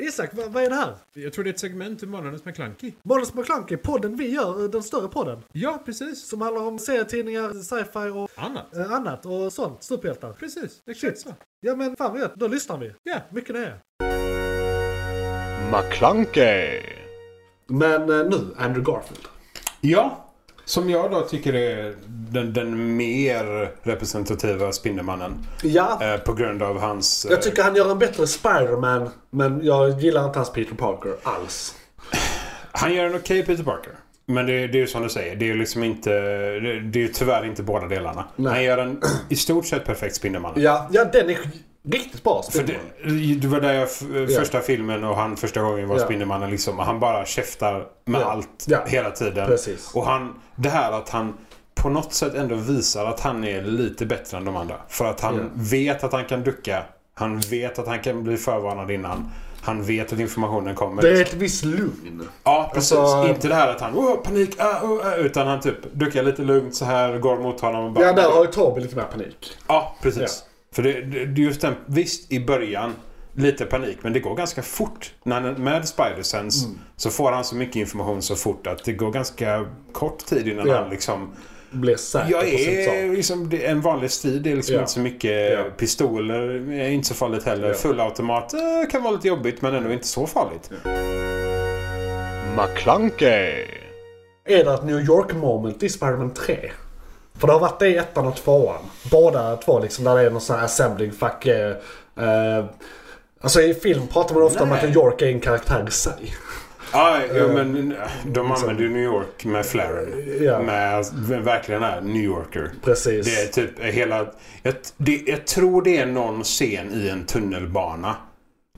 Isak, vad, vad är det här? Jag tror det är ett segment ur Månadens McKlunky. Månadens McKlunky, podden vi gör, eh, den större podden. Ja, precis. Som handlar om serietidningar, sci-fi och Annat. eh, annat och sånt. Superhjältar. Precis, exakt så. Ja men fan vad gött, då lyssnar vi. Ja. Mycket det är. McClunkey. Men eh, nu, Andrew Garfield. Ja, som jag då tycker är den, den mer representativa Spindelmannen. Ja, Eh, på grund av hans... eh, jag tycker han gör en bättre Spider-Man, men jag gillar inte hans Peter Parker alls. eh, Han gör en okej Peter Parker. Men det, det är ju som du säger, det är ju liksom inte... Det, det är ju tyvärr inte båda delarna. Han gör en i stort sett perfekt Spindelmannen. Ja, ja den är riktigt bra. För det, det var där jag, f- första filmen och han första gången var Ja. Spindelmannen liksom. Han bara käftar med Ja. allt Ja. hela tiden. Precis. Och han, det här att han på något sätt ändå visar att han är lite bättre än de andra. För att han Ja. vet att han kan ducka. Han vet att han kan bli förvarnad innan. Han vet att informationen kommer. Det är ett visst lugn. Ja, precis. Alltså- inte det här att han "Åh, panik, ah, oh, ah", utan han typ duckar lite lugnt så här, går mot honom och bara... Ja, där har ju Tobbe lite mer panik. Ja, precis. För det, det, det är just den, visst i början lite panik, men det går ganska fort. När han, är med Spider-Sense Mm. så får han så mycket information så fort att det går ganska kort tid innan Ja. han liksom... Blir säker Jag på sin sak. är liksom, det, en vanlig strid, det är liksom Ja. inte så mycket Ja. pistoler, är inte så farligt heller. Ja. Fullautomat eh, kan vara lite jobbigt, men ändå inte så farligt. McClunkey. Är det ett New York moment i Spider-Man 3? För det har varit det i ettan och tvåan. Båda två liksom, där det är någon sån här assembling fuck... Eh, eh, alltså i film pratar man ofta om att Nej. New York är en karaktär i sig. Ja, jo, Eh, men eh, de använder ju New York med flaren. liksom- Ja. Med verkligen är New Yorker. Precis. Det är typ hela... Jag, det, jag tror det är någon scen i en tunnelbana.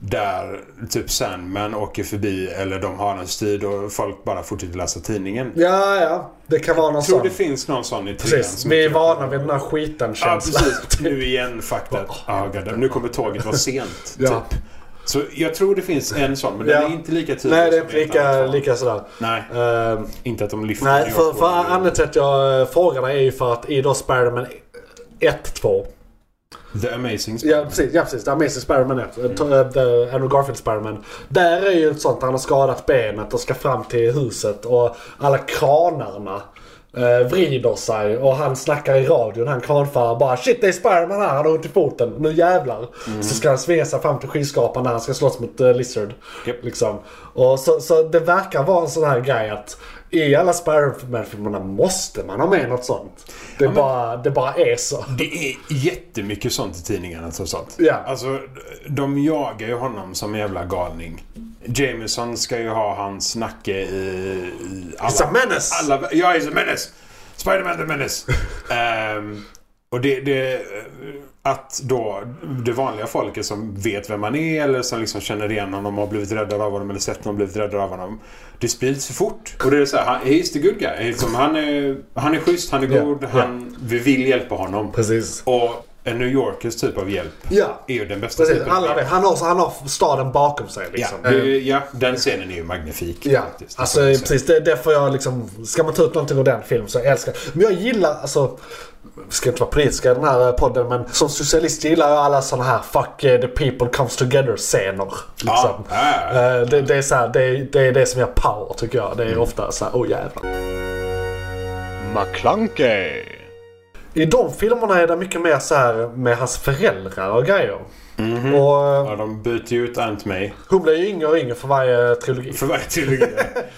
Där typ Sandman åker förbi eller de har en strid och folk bara fortsätter läsa tidningen. Ja, ja. Det kan vara någon Jag tror sån. det finns någon sån i trean. Precis. som Vi är inte- vana vid den här Ja, skiten-känslan. precis. Nu igen, fuck that. Ah, god, nu kommer tåget vara sent. Ja. Typ. Så jag tror det finns en sån, men den Ja. är inte lika tydlig Nej, det är som inte i ett annat lika, fall. lika sådär. Nej. Ehm, Inte att de lyfter Nej, New för, York för World. anledningen till att jag eh, frågar dig är ju för att i då Spider-Man 1, 2. The Amazing Spider-Man. Ja precis, ja, precis. The Amazing Spider-Man 1. eh, to- eh, The Andrew Garfield Spider-Man. Där är ju ett sånt, han har skadat benet och ska fram till huset och alla kranarna eh, vrider sig och han snackar i radion, han kranföraren bara Shit det är Spider-Man här, han har ont i foten, nu jävlar. Så ska han svinga sig fram till skyskrapan när han ska slåss mot eh, Lizard. Japp. Liksom. Och så, så det verkar vara en sån här grej att i alla Spider-Man-filmerna måste man ha med något sånt. Det, bara, det bara är så. Det är jättemycket sånt i tidningarna trots allt. Ja. Alltså, de jagar ju honom som en jävla galning. Jameson ska ju ha hans nacke i... i alla, It's a menace! alla, ja, he's a menace! Spiderman the menace! Ehm, och det, det... Att då det vanliga folket som vet vem han är eller som liksom känner igen honom och har blivit räddade av honom eller sett honom blivit räddade av honom. Det sprids för fort. Och det är så här, han- he's the good guy. Liksom, han, är, han är schysst, han är Ja, god, ja. han, vi vill hjälpa honom. Precis. Och en New Yorkers typ av hjälp Ja. är ju den bästa Precis, typen. av alla hjälp. vet. Han har, han har staden bakom sig Typ. Ja, liksom. det, Eh, ja, den scenen är ju magnifik. Ja, faktiskt. alltså Det får jag säga. precis. Det, det får jag liksom... Ska man ta ut någonting ur den filmen så jag älskar Men jag gillar, alltså... Vi ska inte vara politiska i den här eh, podden men som socialist gillar jag alla sådana här fuck eh, the people comes together scener. Liksom. Ja, ja, ja. Eh, Det, det, är så här, det, är- det är det som gör power tycker jag. Det Mm. är ofta så här, oh jävlar. McClunkey. I de filmerna är det mycket mer så här med hans föräldrar och grejer. Mhm. Och eh, Ja, de byter ju ut Aunt May hon blir ju yngre och yngre för varje trilogi. för varje trilogi.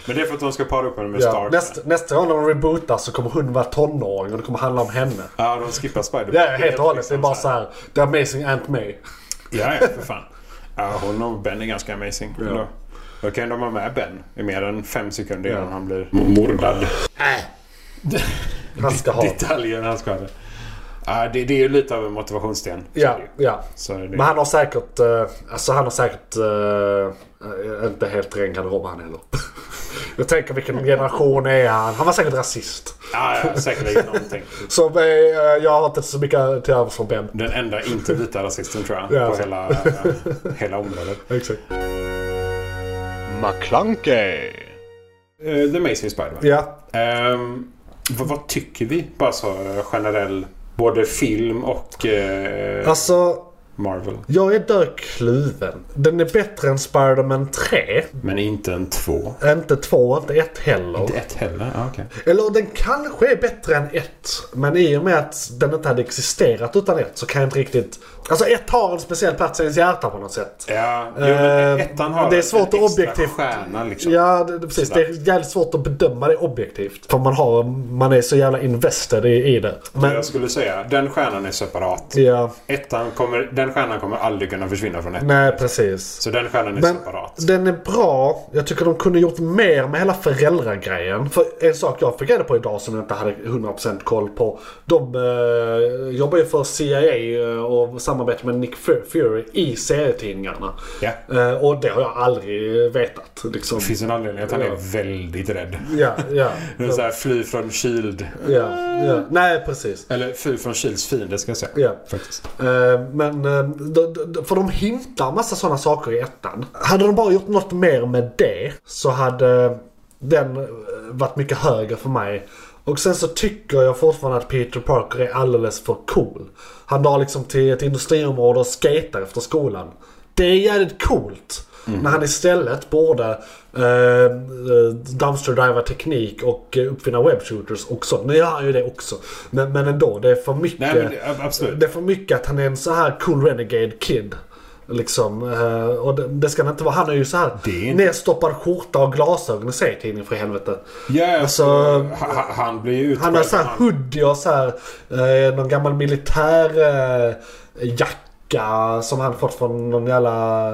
Men det är för att de ska para upp henne med Ja, Stark. nästa, nästa gång de rebootar så kommer hon vara tonåring och det kommer handla om henne. Ja, de skippar Spider-Man. Ja, helt och hållet. Det liksom är bara så här. The amazing Aunt May. Ja, ja, för fan. Ja, hon och Ben är ganska amazing. Ja. ändå. Då kan de ha med Ben i mer än fem sekunder innan han blir mordad. Äh. Han ska ha. Detaljer han ska ha det. Ja, det, det är ju lite av en motivationssten. Så är Ja, det ju. ja. Så är det. Men han har säkert, eh, alltså han har säkert eh, eh, inte helt ren garderob han heller. Jag tänker vilken generation är han? Han var säkert rasist. Ja, ja, säkerligen någonting. Så eh, jag har inte så mycket till övers för Ben. Den enda inte vita rasisten tror jag. Ja. På hela, eh, hela området. Exakt. McClunkey. Eh, The Amazing Spider-Man. Ja. Ehm, vad, vad tycker vi? Bara så eh, generell. Både film och... eh, Alltså, Marvel. Jag är där kluven. Den är bättre än Spider-Man 3. Men inte en två. Inte 2, inte 1 heller. Inte ett heller? Ah, okej. Eller den kanske är bättre än 1. Men i och med att den inte hade existerat utan 1 så kan jag inte riktigt... Alltså 1 har en speciell plats i ens hjärta på något sätt. Ja, jo, men Eh, ettan har det är svårt en att extra objektivt- stjärna liksom. Ja, det, det, precis. Det Sådär. är jävligt svårt att bedöma det objektivt. För man, har, man är så jävla invested i, i det. Men, Jag skulle säga den stjärnan är separat. ja, Ettan kommer, den stjärnan kommer aldrig kunna försvinna från ettan. nej precis. Så den stjärnan är Men separat. den är bra. Jag tycker de kunde gjort mer med hela föräldragrejen. För en sak jag fick reda på idag som jag inte hade 100% koll på. De eh, jobbar ju för CIA eh, och samarbetar med Nick Fu- Fury i serietidningarna. Ja. Eh, och det har jag aldrig vetat. Liksom. Det finns en anledning att han Ja. är väldigt rädd. Ja, ja. Det är så här, fly från Shield. ja, ja. Nej, precis. Eller fly från Shields fiende ska jag säga. Ja. Faktiskt. Eh, Men, eh, d- d- d- för de hintar massa sådana saker i ettan. Hade de bara gjort något mer med det så hade den eh, varit mycket högre för mig. Och sen så tycker jag fortfarande att Peter Parker är alldeles för cool. Han drar liksom till ett industriområde och skater efter skolan. Det är jävligt coolt. Mhm. När han istället borde eh, dumpster driva teknik och eh, uppfinna webbshooters och så. Nu gör han ju det också. Men, men ändå, det är för mycket. Nej, men det, ab- absolut. Det är för mycket att han är en så här cool renegade kid. Liksom. eh, Och det, det ska han inte vara. Han är ju så här Det är inte- nedstoppad skjorta och glasögon i serietidningen för helvete. Ja, Alltså, ha- ha- han blir ju Han har så här hoodie och så här eh, någon gammal militärjacka jacka som han fått från någon jävla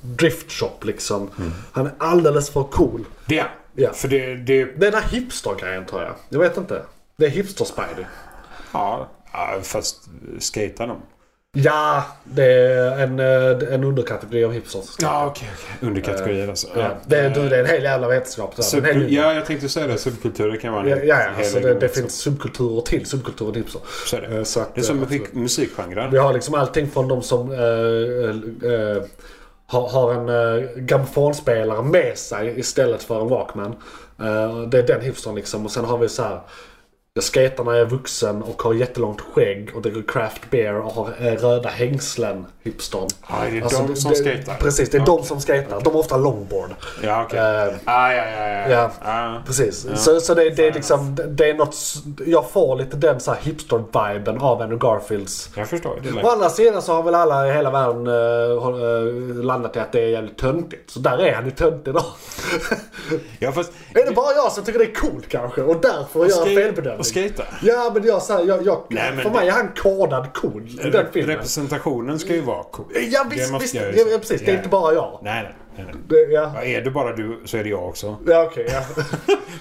driftshop liksom. Mm. Han är alldeles för cool. Det är Ja. han. För det, det Det är den här hipstergrejen tror jag. Jag vet inte. Det är hipster-spidey. ja, ja, fast skejtar de? Ja, det är en, eh, en underkategori av hipsters. Ja, okej. okej. Underkategorier alltså. Ja, det, är, du, det är en hel jävla vetenskap. Så, en Subkul- hel, ja, jag tänkte säga det. Subkulturer kan vara en ja, hel- ja, en hel alltså det, egen det också. finns subkulturer till subkulturer till. Så. Så är det. Eh, Så att, Det är som eh, musik- musikgenrer. Vi har liksom allting från de som eh, eh, har, har en eh, grammofonspelare med sig istället för en Walkman. Eh, det är den hipstern liksom. Och sen har vi så här. Jag skejtar när jag är vuxen och har jättelångt skägg och dricker craft beer och har eh, röda hängslen hipstern. Ja, det är Alltså, de som det- skejtar. Precis, det är Ja. de som skejtar. De har ofta longboard. Ja, okej. Eh, ah, ja, ja, ja. ja. Ah. alltså. Precis. Så, så det, det är liksom, det- det är något, s- jag får lite den så här hipster-viben av Andrew Garfields. Jag förstår. Det Å är andra sidan så har väl alla i hela världen eh, har, eh, landat i att det är jävligt töntigt. Så där är han ju töntig då. ja, fast... är det bara jag som tycker det är coolt kanske och därför gör jag skate- felbedömning? Och skejta. Ja men jag säger, jag, jag, Nej, men för det- mig är han kodad cool i den Rep- filmen. representationen ska ju vara cool. Ja Det visst, måste visst. jag ju Ja, säga. ja, precis. Det är Ja. inte bara jag. Nej, nej, nej. nej. Det, ja. Ja, är det bara du så är det jag också. Ja okej, ja.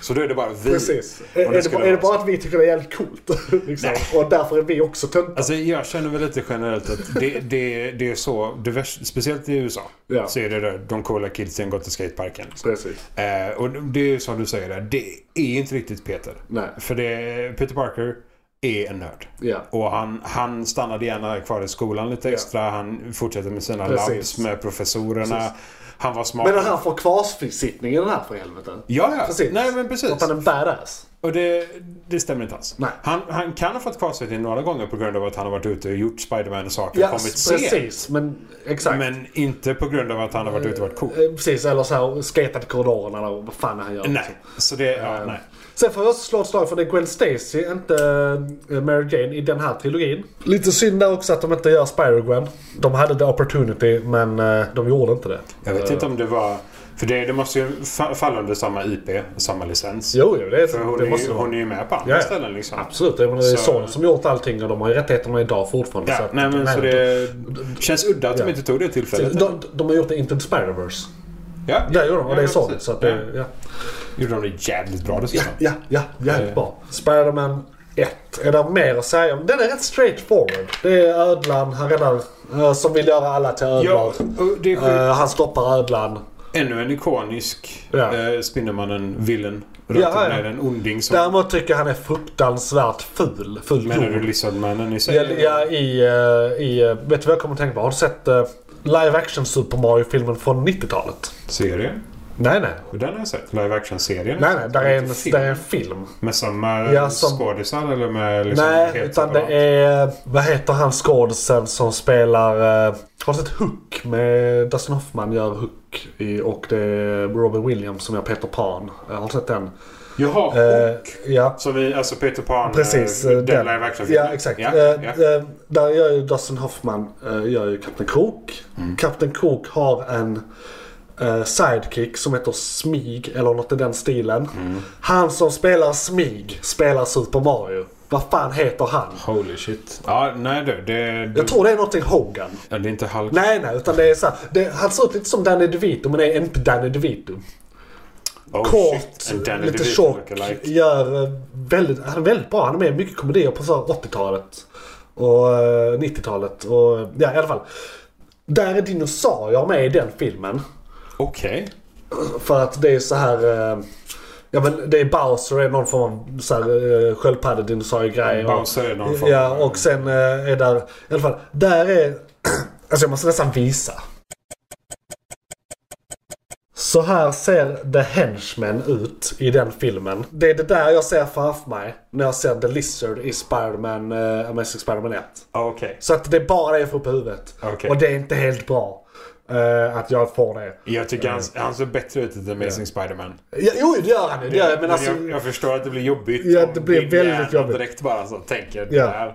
Så då är det bara vi. Precis. Och Är, är, det, skulle bara- är det vara så. bara att vi tycker det är jävligt coolt? liksom. Och därför är vi också töntiga? Alltså jag känner väl lite generellt att det, det, det är så, det värst, speciellt i USA, Ja. så är det där de coola kidsen går till skateparken. Precis. Eh, och det är ju som du säger där, det är inte riktigt Peter. Nej. För det, Peter Parker är en nörd. Ja. Och han, han stannade gärna kvar i skolan lite extra. Han fortsatte med sina Precis. labs med professorerna. Han var smart. Men den här får kvarsbesittningen den här för helvete. Ja, ja. Precis. Nej, men precis. Att han är en badass. Och det, det stämmer inte alls. Nej. Han, han kan ha fått kvarsittning några gånger på grund av att han har varit ute och gjort Spiderman-saker och Ja, kommit sent. precis. Men exakt. Men inte på grund av att han har varit ute och varit cool. Eh, Precis, eller så här skatat i korridorerna eller vad fan han gör. Nej, så det... Ja, Eh, nej. Sen får jag också slå ett slag för det är Gwen Stacy, inte eh, Mary Jane i den här trilogin. Lite synd där också att de inte gör Spider-Gwen. De hade the opportunity men eh, de gjorde inte det. Jag vet inte om det var... För det, det måste ju fa- falla under samma IP, samma licens. Jo, jo det, För hon, det är, måste ju, vara. hon är ju med på andra Ja, ja. ställen liksom. Absolut, jag menar, det är Så- Sony som gjort allting och de har ju rättigheterna idag fortfarande. Ja, att- nej, men, så det känns udda att Ja. de inte tog det tillfället. De, de har gjort det inte till Spider-Verse. Ja, Det gjorde de och det är ja, Sony. precis. Så att det, ja. Gjorde de det jävligt bra dessutom. Ja, ja, jävligt bra. Spider-Man 1. Är det mer att säga om? Den är rätt straight forward. Det är ödlan, han räddar, eh, som vill göra alla till ödlor. Ja, och det är sjukt. Eh, han stoppar ödlan. Ännu en ikonisk Ja. eh, Spindelmannen-villen. Ja, Röten ja. med en onding som... Däremot tycker jag han är fruktansvärt ful. Ful Menar du blod. Lizardmannen i sig? Ja, ja, i, eh, i, eh, vet du vad jag kommer att tänka på? Har du sett eh, live action Super Mario-filmen från 90-talet? Serien? Nej, nej. Den har jag sett. Live action-serien. Nej, nej. Där är en, Inte film. där är en film. Med samma Ja, som- skådisar eller med liksom nej, helt utan det separat? är... Vad heter han skådisen som spelar... eh, Har du sett Hook? Med Dustin Hoffman gör Hook. I, och det är Robin Williams som gör Peter Pan. Eh, Har du sett den? Jaha, Eh, och. ja. Som vi, alltså Peter Pan. Precis. eh, eh, Den den. live action Ja, exakt. Ja, Eh, ja. eh, Där gör ju Dustin Hoffman eh, gör ju Kapten Krok. Mm. Kapten Krok har en eh, sidekick som heter Smig eller något i den stilen. Mm. Han som spelar Smig spelar Super Mario. Vad fan heter han? Holy shit. Ja, nej du. Det, du Jag tror det är någonting Hogan. ja, det är inte Hulk. Nej, nej, utan det är så här, det, Han ser ut lite som Danny DeVito, men är inte Danny DeVito. oh, Kort, shit. And Danny lite DeVito tjock. lookalike. Gör eh, väldigt, han är väldigt bra. Han är med i mycket komedier på så här 80-talet. Och eh, 90-talet. Och, ja, i alla fall. Där är dinosaurier med i den filmen. Okej. För att det är så här... eh, Ja men det är Bowser, är någon form av så här, eh, sköldpaddedinosaurie-grej. Och- Bowser är någon form Ja, av- och sen eh, är där... I alla fall, där är... alltså jag måste nästan visa. Så här ser The Henchmen ut i den filmen. Det är det där jag ser framför mig när jag ser The Lizard i Spider-Man, eh, Amazing Spider-Man 1. Okej. Så att det är bara det jag får upp i huvudet. Okej. Och det är inte helt bra eh, att jag får det. Jag tycker han, han ser bättre ut än Amazing Spider-Man. Ja, jo, det gör han ju. Det gör, jag, men Men alltså, jag, jag förstår att det blir jobbigt. Ja, om det blir din väldigt hjärna jobbigt. direkt bara så tänker Ja. det här.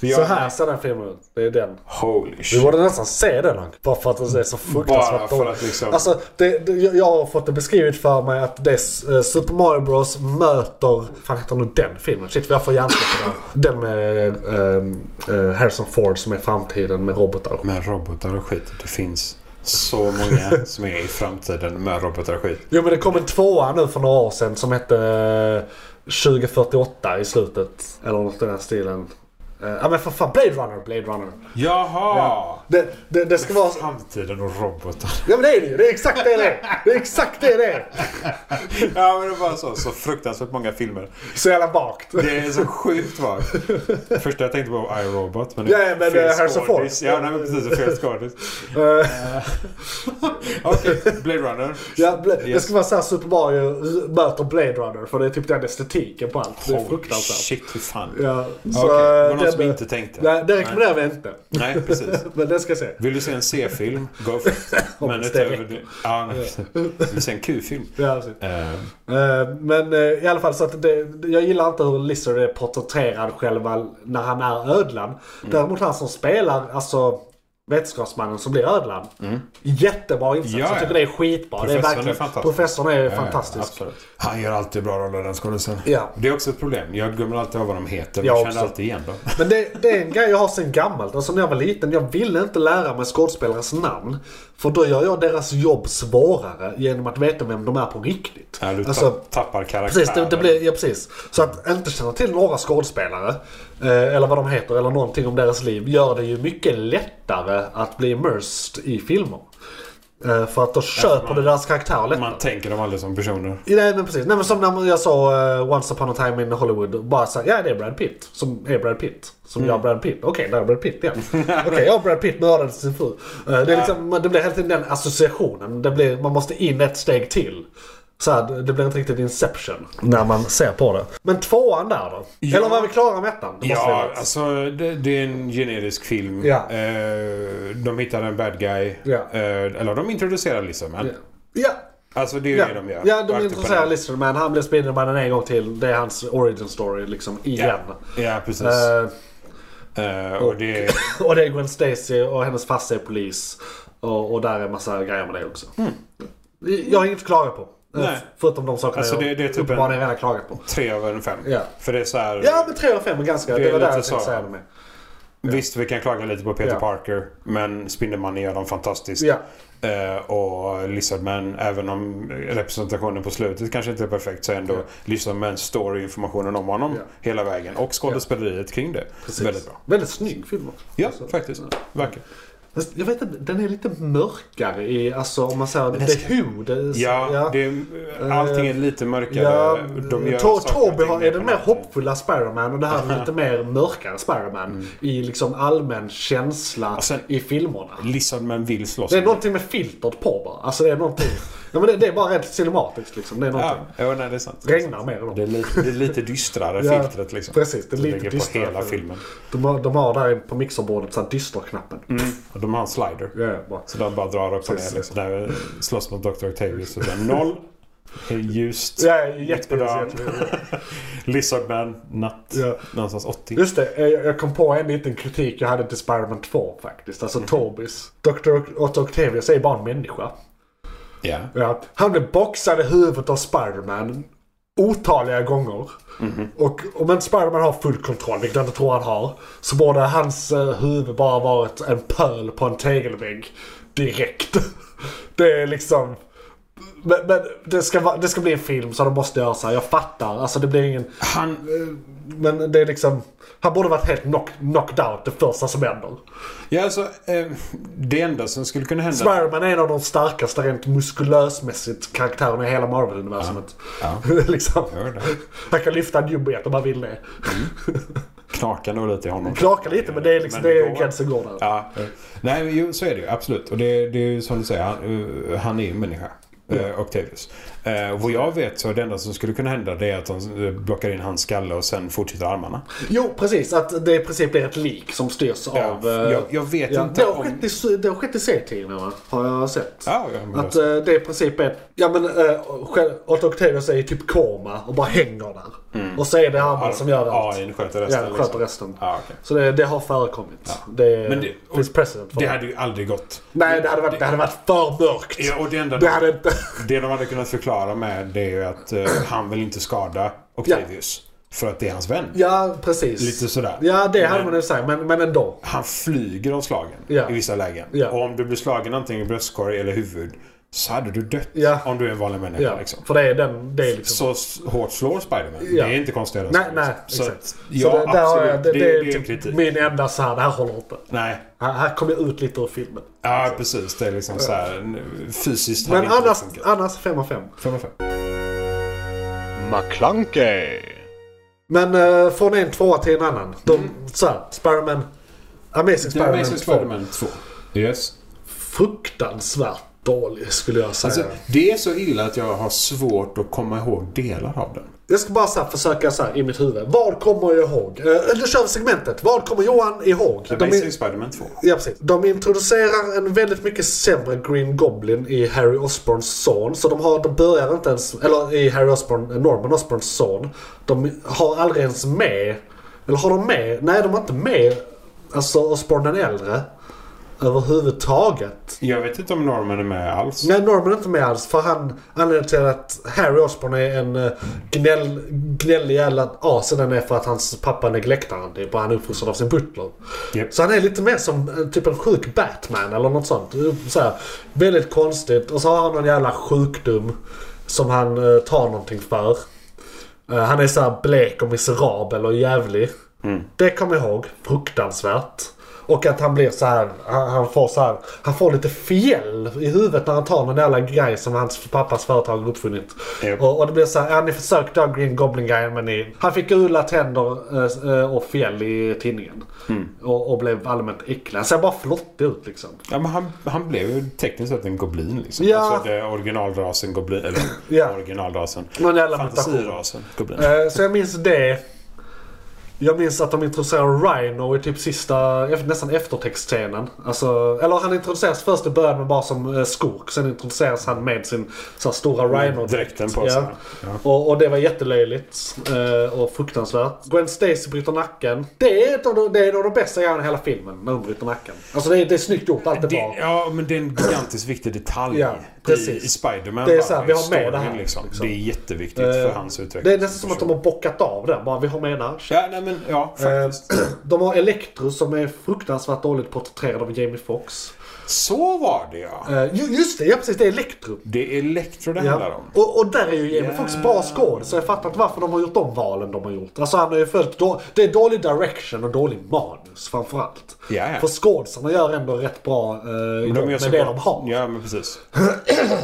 För jag, så här ser den filmen ut. Det är den. Holy Vi shit. borde nästan se den Hank. Bara för att det är så Bara fruktansvärt för dåligt. att liksom... Alltså, det, det, jag jag har fått det beskrivet för mig att det är S- eh, Super Mario Bros möter... fan heter nu den filmen? Shit, jag får hjärnsläpp på den. Den med eh, eh, Harrison Ford som är framtiden med robotar. med robotar och skit. Det finns så många som är i framtiden med robotar och skit. Jo men det kom en tvåa nu för några år sedan som hette eh, 2048 i slutet. Eller något i den stilen. Eh, Ja men för fan, Blade Runner, Blade Runner. Jaha! Det, det, det ska vara... Framtiden och robotar. Ja men det är det ju, det är exakt det det är. Det är exakt det det är. Ja men det var så, så fruktansvärt många filmer. Så jävla vagt. Det är så sjukt vagt. Första jag tänkte på var iRobot. Men det Ja, ja, men, eh, Harrison Ford. skådis. Ja, nej, men precis. Fel skådis. Eh, Okej, Blade Runner. Ja, Bla- Det Yes. ska vara såhär Super Mario r- möter Blade Runner för det är typ den estetiken på allt. Det är Holy fruktansvärt. Shit, hur fan. Ja, Okej, eh, det var den- någon som inte tänkte. Nej, det rekommenderar vi inte. Nej, precis. Men det ska jag se. Vill du se en C-film? Go for it. Men Stäng. utöver det... Ja, nej. precis. Vill du se en Q-film? Ja, precis. Eh, Eh, Men eh, i alla fall så att det, jag gillar inte hur Lizard är porträtterad själva när han är ödlan. Mm. Däremot han som spelar, alltså vetenskapsmannen som blir ödlan. Jättebra insats. Mm. Ja, ja. Jag tycker det är skitbra. det Professorn är är verkligen, fantastisk. professorn är Ja, fantastisk. absolut. Han gör alltid bra roller den skådisen. Ja. Det är också ett problem. Jag glömmer alltid av vad de heter. Jag Jag känner också. alltid igen dem. Men det, det är en grej jag har sen gammalt. Alltså när jag var liten, jag ville inte lära mig skådespelares namn. För då gör jag deras jobb svårare genom att veta vem de är på riktigt. Ja, Äh, du alltså, tapp- tappar karaktären. precis, det, det blir, ja, precis. Så att inte känna till några skådespelare, eh, eller vad de heter, eller någonting om deras liv, gör det ju mycket lättare att bli immersed i filmer. Eh, för att då köper man- du deras karaktärer lättare. Man tänker dem aldrig som personer. Nej men precis. Nej, men som när jag sa eh, Once upon a time in Hollywood. Bara såhär, ja det är Brad Pitt. Som är Brad Pitt. Som Mm. gör Brad Pitt. Okej, där är Brad Pitt igen. Okej, jag och Brad Pitt mördade sin fru. Eh, det, är liksom, man- det blir hela tiden den associationen. Det blir, man måste in ett steg till. Så här, det- det blir inte riktigt Inception när man ser på det. Men tvåan där då? Ja. Eller var vi klara med ettan? Det måste vi Ja, vara. alltså det, det är en generisk film. Ja. Eh, de hittar en bad guy. Ja. Eh, eller de introducerar Lizardman. ja. Alltså det är ju Ja, det de gör. ja, de Rakt upp och ner. intresserar Listerman. Han blir Spindelmannen en gång till. Det är hans origin story liksom, igen. Ja, ja precis. Eh, Eh, och det är... Och det är Gwen Stacy och hennes farsa är polis. Och, och där är massa grejer med det också. Jag har inget att klaga på. Eh, Mm. Nej. Förutom de sakerna Alltså, det- jag det är typ en- uppenbarligen redan klagat på. Tre av en fem. Ja. För det är så här... Ja men 3 av 5 är ganska... Det Det, är var där lite jag tänkte så. säga det med. Visst, vi kan klaga lite på Peter Ja. Parker. Men Spindelmannen gör dem fantastiskt. Ja. Eh, och Lizardman, även om representationen på slutet kanske inte är perfekt, så är ändå Ja. Lizardman står i informationen om honom Ja. hela vägen. Och skådespeleriet kring det. Precis. Väldigt bra. Väldigt snygg film också. Ja, Alltså, faktiskt. Verkligen. fast Jag vet inte, den är lite mörkare i, alltså om man säger den det ska- hud. det- Ja, Det är, allting är lite mörkare. Eh, Ja, De gör Tor- saker och Torby ting har, är den på mer natten. hoppfulla Spiderman och det här är lite mer mörkare Spiderman. Mm. I liksom allmän känsla Och sen- i filmerna. Lizardman vill slåss. Det är någonting med filtret på bara. Alltså det är någonting. Nej, men det, det är bara rent cinematiskt liksom. Det är någonting. Ja, jo, nej, det är sant. Regnar mer än dem. Det är lite, det är lite dystrare Ja, filtret liksom. precis. Det är Som lite ligger dystrare på hela filtret. filmen. De, har- de har där på mixerbordet så här dysterknappen. Och de har en slider. Ja, bra. Så de bara drar upp och Precis. ner liksom. Där slåss mot Dr. Octavius. Och sen noll. Ljust. Ja, Mitt på jätte, dagen. jätte, jätte- Lizardman. Natt. Ja. Någonstans 80. Just det, eh, jag jag kom på en liten kritik jag hade till Spiderman 2 faktiskt. Alltså Tobis. Dr. Otto Octavius är bara en människa. Ja. Ja. Han blev boxad i huvudet av Spiderman otaliga gånger. Och om inte Spiderman har full kontroll, vilket jag inte tror han har, så borde hans eh, huvud bara varit en pöl på en tegelvägg direkt. Det är liksom... Men, men det, ska vara, det ska bli en film så de måste göra så här. Jag fattar. Alltså det blir ingen... Han, Men det är liksom... Han borde varit helt knock, knocked out det första som händer. ja, alltså, eh, det enda som skulle kunna hända... Spiderman är en av de starkaste rent muskulösmässigt karaktärerna i hela Marvel-universumet. Ja. liksom. Gör det. Mm. Han kan lyfta en jumbojet om han vill det. Knakar nog lite i honom. Knakar lite men det är liksom, Men det det är går. gränsen går där. Ja. Nej, men jo, så är det ju. Absolut. Och det, det är ju som du säger, han, eh, han är ju en människa. eh, Octavius. Eh, vad jag vet så är det enda som skulle kunna hända det är att de eh, blockar in hans skalle och sen fortsätter armarna. Jo precis, att det i princip blir ett lik som styrs av... eh, jag, jag vet ja. inte Det har om... skett i, s- det har skett i serietidningarna har jag sett. Ja, ja, men Att eh, det i princip är, ja men eh, själv, Otto Octavius är i typ koma och bara hänger där. Mm. Och så är det han som gör allt. AI sköter Ja, resten. sköter liksom. resten. Ja, okej. Så det, det har förekommit. Det, Men det- finns precedent för Det det. hade ju aldrig gått. Nej, det hade varit, det hade varit för mörkt. Ja, och det enda Det hade inte... Det de hade kunnat förklara med det är ju att eh, han vill inte skada Octavius. För att det är hans vän. Ja, precis. Lite sådär. Ja, det hade Men- man ju sagt, men, men ändå. Han flyger av slagen Ja. i vissa lägen. Ja. Och om du blir slagen antingen i bröstkorg eller huvud så hade du dött Ja. om du är en vanlig människa. Ja, Liksom. För det är den... Det är liksom... Så s- hårt slår Spiderman. Ja. Det är inte konstigare än nej, så, nej, liksom. Så exakt. att, Så ja, det, där har jag, absolut. det, det, är en kritik. typ min enda så här, det här håller inte. Nej. Här, här kom jag ut lite ur filmen. Ja, precis. Det är liksom så här, n- fysiskt Men hade inte annars, funkat. annars 5 av 5. Fem av fem. McClunkey. Men eh, från en tvåa till en annan. De, så här, Spiderman... Amazing Mm. Det Spiderman är Amazing 2. Spiderman 2. Yes. Fruktansvärt dålig skulle jag säga. Alltså, det är så illa att jag har svårt att komma ihåg delar av den. Jag ska bara så här försöka så här i mitt huvud. Vad kommer jag ihåg? Eh, Då kör vi segmentet. Vad kommer Johan ihåg? De, Amazing in- Spiderman 2. ja, precis. de introducerar en väldigt mycket sämre Green Goblin i Harry Osborns son. Så de, har, de börjar inte ens... Eller i Harry Osborn, eh, Norman Osborns son. De har aldrig ens med... Eller har de med? Nej, de har inte med alltså Osborn den äldre. Överhuvudtaget. Jag vet inte om Norman är med alls. Nej, Norman är inte med alls. För han, anledningen till att Harry Osborn är en eh, gnäll, gnällig jävla as den är för att hans pappa neglektar han typ. Och han är uppfostrad av sin butler. Japp. Så han är lite mer som eh, typ en sjuk Batman eller något sånt. Eh, Så här, väldigt konstigt. Och så har han någon jävla sjukdom som han eh, tar någonting för. Eh, han är så här blek och miserabel och jävlig. Det kommer jag ihåg. Fruktansvärt. Och att han blir så här, han, han får så här, han får lite fjäll i huvudet när han tar någon jävla grej som hans pappas företag har uppfunnit. Japp. Och, och det blir så här, ja ni försökte ha Green Goblin-grejen men ni, han fick gula tänder eh, s- eh, och fjäll i tidningen. Och, och blev allmänt äcklig. Han ser bara flottig ut liksom. Ja, men han, han blev ju tekniskt sett en goblin liksom. Ja. Alltså det är originalrasen goblin. Eller Ja. originalrasen. Någon jävla mutation. Fantasirasen goblin. Eh, Så jag minns det. Jag minns att de introducerar Rhino i typ sista, nästan eftertextscenen. Alltså, eller han introduceras först i början men bara som eh, skurk. Sen introduceras han med sin så här, stora Rhino. Mm, Dräkten på sig. Ja. Och, och det var jättelöjligt eh, och fruktansvärt. Gwen Stacy bryter nacken. Det är ett av de, det är en av de bästa grejerna i hela filmen, när hon bryter nacken. Alltså det är, det är snyggt gjort, allt är Det, bra. ja, men det är en gigantiskt viktig detalj Ja, precis. i, i Spiderman. Det är bara, så här, vi har med storyn, det här, Liksom. liksom. Det är jätteviktigt Eh, för hans utveckling. Det är nästan som att de har Eh, bockat av den. Bara, vi har med en här. Ja, nej, men, ja faktiskt. De har Electro som är fruktansvärt dåligt porträtterad av Jamie Foxx. Så var det ja. Eh, ju- just det, ja precis. Det är Electro. Det är Electro det handlar Ja. om. Och, och där är ju Jamie Ja. Foxx bra skåd, så jag fattar inte varför de har gjort de valen de har gjort. Alltså han har ju följt... Då, det är dålig direction och dålig manus framförallt. Ja, ja. För skådisarna gör ändå rätt bra eh, jobb gör med så det bra- de har. Ja, men precis.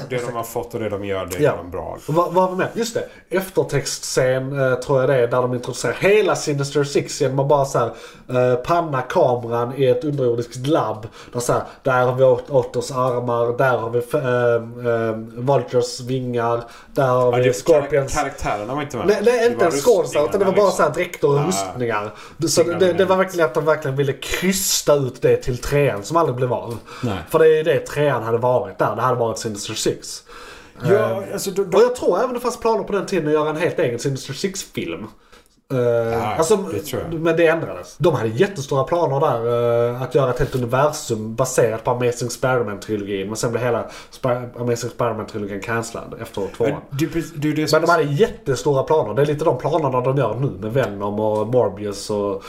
det de har fått och det de gör, det Ja. gör de bra. Och Vad vad var med? Just det. Eftertextscen eh, tror jag det är där de introducerar hela Sinister Six genom att bara så här, eh, panna kameran i ett underjordiskt labb. Där, så här, där Där har vi Ot- Otters armar, där har vi äh, Vultures vingar, där har Ja, vi det, Scorpions. Scorpions... Karaktärerna var inte med. Nej, nej inte ens skådisar utan det var bara så såhär dräkter och Ah. rustningar. Så Signal det, det var Event. verkligen att de verkligen ville krysta ut det till trean som aldrig blev av. Nej. För det är ju det trean hade varit där. Det hade varit Sinister Six. Ja, alltså, de, Och de, jag tror även det fanns planer på den tiden att göra en helt egen Sinister Six-film. Eh, alltså, det tror jag. Men det ändrades. De hade jättestora planer där eh, att göra ett helt universum baserat på Amazing Spiderman-trilogin. Men sen blev hela Spi- Amazing Spiderman-trilogin cancellad efter tvåan. det, är precis- det, är det som Men de hade jättestora planer. Det är lite de planerna de gör nu med Venom och Morbius och,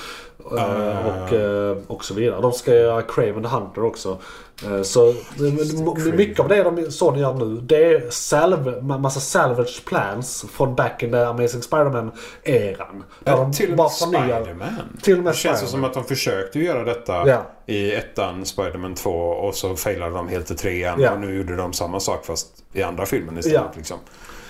eh, och, eh, och så vidare. De ska göra Craven the Hunter också. Eh, Så m- Craven. mycket av det de Sony gör nu det är salv, ma- massa salvage plans från back in the Amazing Spider-Man-eran. Där Ja, de Eh, till och bara med förnyar- Spiderman. Till och med Det känns ju Spider-Man. som att de försökte göra detta Ja. i ettan, Spiderman 2 och så failade de helt i trean. Ja. Och nu gjorde de samma sak fast i andra filmen istället. Ja. Liksom.